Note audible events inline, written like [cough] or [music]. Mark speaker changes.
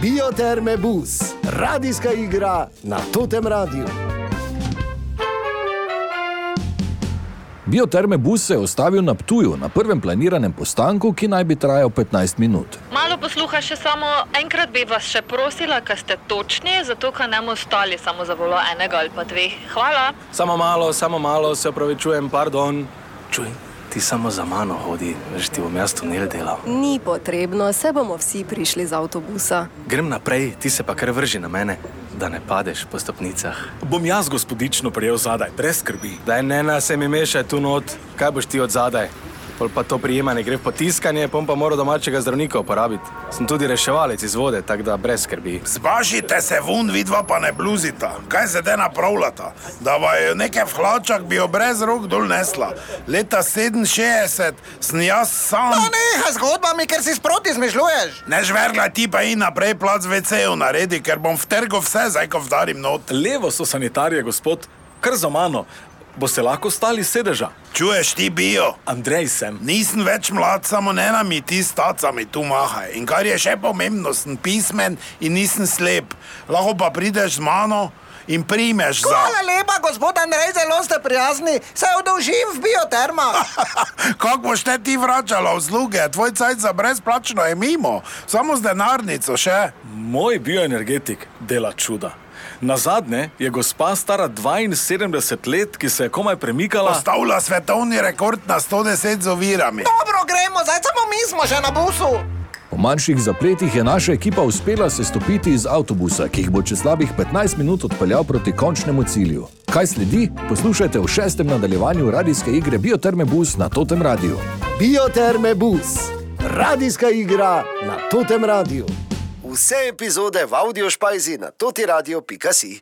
Speaker 1: Bioterme Bus, radijska igra na totem radiju.
Speaker 2: Bioterme Bus se je ustavil na Ptuju, na prvem planiranem postanku, ki naj bi trajal 15 minut.
Speaker 3: Malo posluha, še samo enkrat bi vas še prosila, ker ste točni, zato ker ne bomo ostali samo za volo enega ali pa dveh. Hvala.
Speaker 4: Samo malo, samo malo, se opravičujem, pardon. Čuj, ti samo za mano hodi, že ti bom jaz tunel delal.
Speaker 5: Ni potrebno, se bomo vsi prišli z avtobusa.
Speaker 4: Grem naprej, ti se pa kar vrži na mene, da ne padeš po stopnicah.
Speaker 6: Bom jaz gospodično prijel zadaj, brez skrbi.
Speaker 4: Daj ne na se mi mešaj tu not, kaj boš ti od zadaj. Pol pa to prijemanje gre v potiskanje, pom pa mora domačega zdravnika uporabiti. Sem tudi reševalec iz vode, tako da brez skrbi.
Speaker 6: Zbašite se vun, vidva pa ne bluzita. Kaj se dena pravljata? Da vaju nekaj v hlačah bi jo brez rok dol nesla. Leta 67 sem jaz sam.
Speaker 7: No, nehaj z zgodbami, ker si sproti zmišljuješ.
Speaker 6: Ne žvergla ti pa in naprej plac VC-ju naredi, ker bom vtrgal vse, zdaj ko vdarim not.
Speaker 8: Levo so sanitarije, gospod, kar za mano. Boste lahko stali sedeža.
Speaker 6: Čuješ ti bio?
Speaker 8: Andrej sem.
Speaker 6: Nisem več mlad, samo ne nami ti s tacami tu mahaj. In kar je še pomembno, sem pismen in nisem slep. Lahko pa prideš z mano in primeš za.
Speaker 7: Hvala lepa, gospod Andrej, zelo ste prijazni. Se odolžim v biotermah.
Speaker 6: [laughs] Kako boš te ti vračala usluge? Tvoj cajt za brezplačno je mimo, samo z denarnico še.
Speaker 8: Moj bioenergetik dela čuda. Na zadnje je gospa stara 72 let, ki se je komaj premikala.
Speaker 6: Postavlja svetovni rekord na 110 z ovirami.
Speaker 7: Dobro, gremo, zdaj samo mi smo še na busu.
Speaker 2: Po manjših zapletih je naša ekipa uspela se stopiti iz avtobusa, ki jih bo čez slabih 15 minut odpeljal proti končnemu cilju. Kaj sledi, poslušajte v šestem nadaljevanju radijske igre Bioterme Bus na totem radiju.
Speaker 1: Bioterme Bus, radijska igra na totem radiju. Vse epizode v audio špajzi na totiradio.si.